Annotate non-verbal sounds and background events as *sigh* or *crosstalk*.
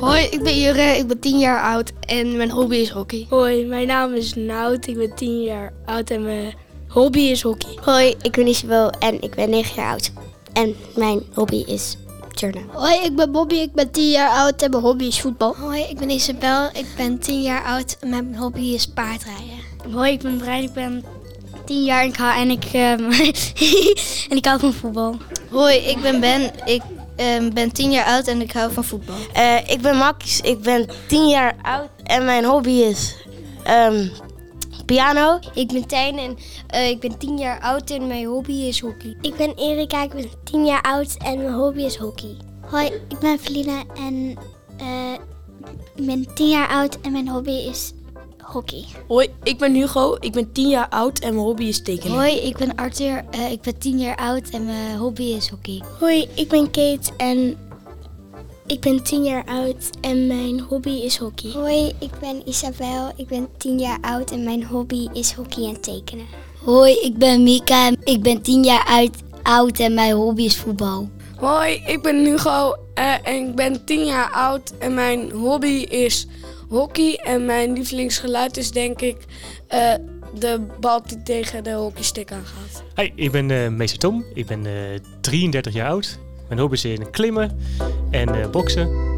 Hoi, ik ben Jurre, ik ben 10 jaar oud en mijn hobby is hockey. Hoi, mijn naam is Nout, ik ben 10 jaar oud en mijn hobby is hockey. Hoi, ik ben Isabel en ik ben 9 jaar oud. En mijn hobby is journalen. Hoi, ik ben Bobby, ik ben 10 jaar oud en mijn hobby is voetbal. Hoi, ik ben Isabel, ik ben 10 jaar oud en mijn hobby is paardrijden. Hoi, ik ben Brian, ik ben 10 jaar en ik, hou, en ik, um, *laughs* en ik hou van voetbal. Hoi, ik ben Ben, ik um, ben 10 jaar oud en ik hou van voetbal. Uh, ik ben Max, ik ben 10 jaar oud en mijn hobby is um, piano. Ik ben Tijn en uh, ik ben 10 jaar oud en mijn hobby is hockey. Ik ben Erika, ik ben 10 jaar oud en mijn hobby is hockey. Hoi, ik ben Felina en uh, ik ben 10 jaar oud en mijn hobby is hockey. Hoi, ik ben Hugo, ik ben 10 jaar oud en mijn hobby is tekenen. Hoi, ik ben Arthur, uh, ik ben 10 jaar oud en mijn hobby is hockey. Hoi, ik ben Kate en ik ben 10 jaar oud en mijn hobby is hockey. Hoi, ik ben Isabel. Ik ben 10 jaar oud en mijn hobby is hockey en tekenen. Hoi, ik ben Mika. Ik ben 10 jaar uit, oud en mijn hobby is voetbal. Hoi, ik ben Hugo uh, en ik ben 10 jaar oud en mijn hobby is hockey. En mijn lievelingsgeluid is denk ik uh, de bal die tegen de hockeystick aangaat. Hi, ik ben uh, meester eh, Tom. Ik ben 33 jaar oud mijn hobby's in klimmen eh, en uh, boksen.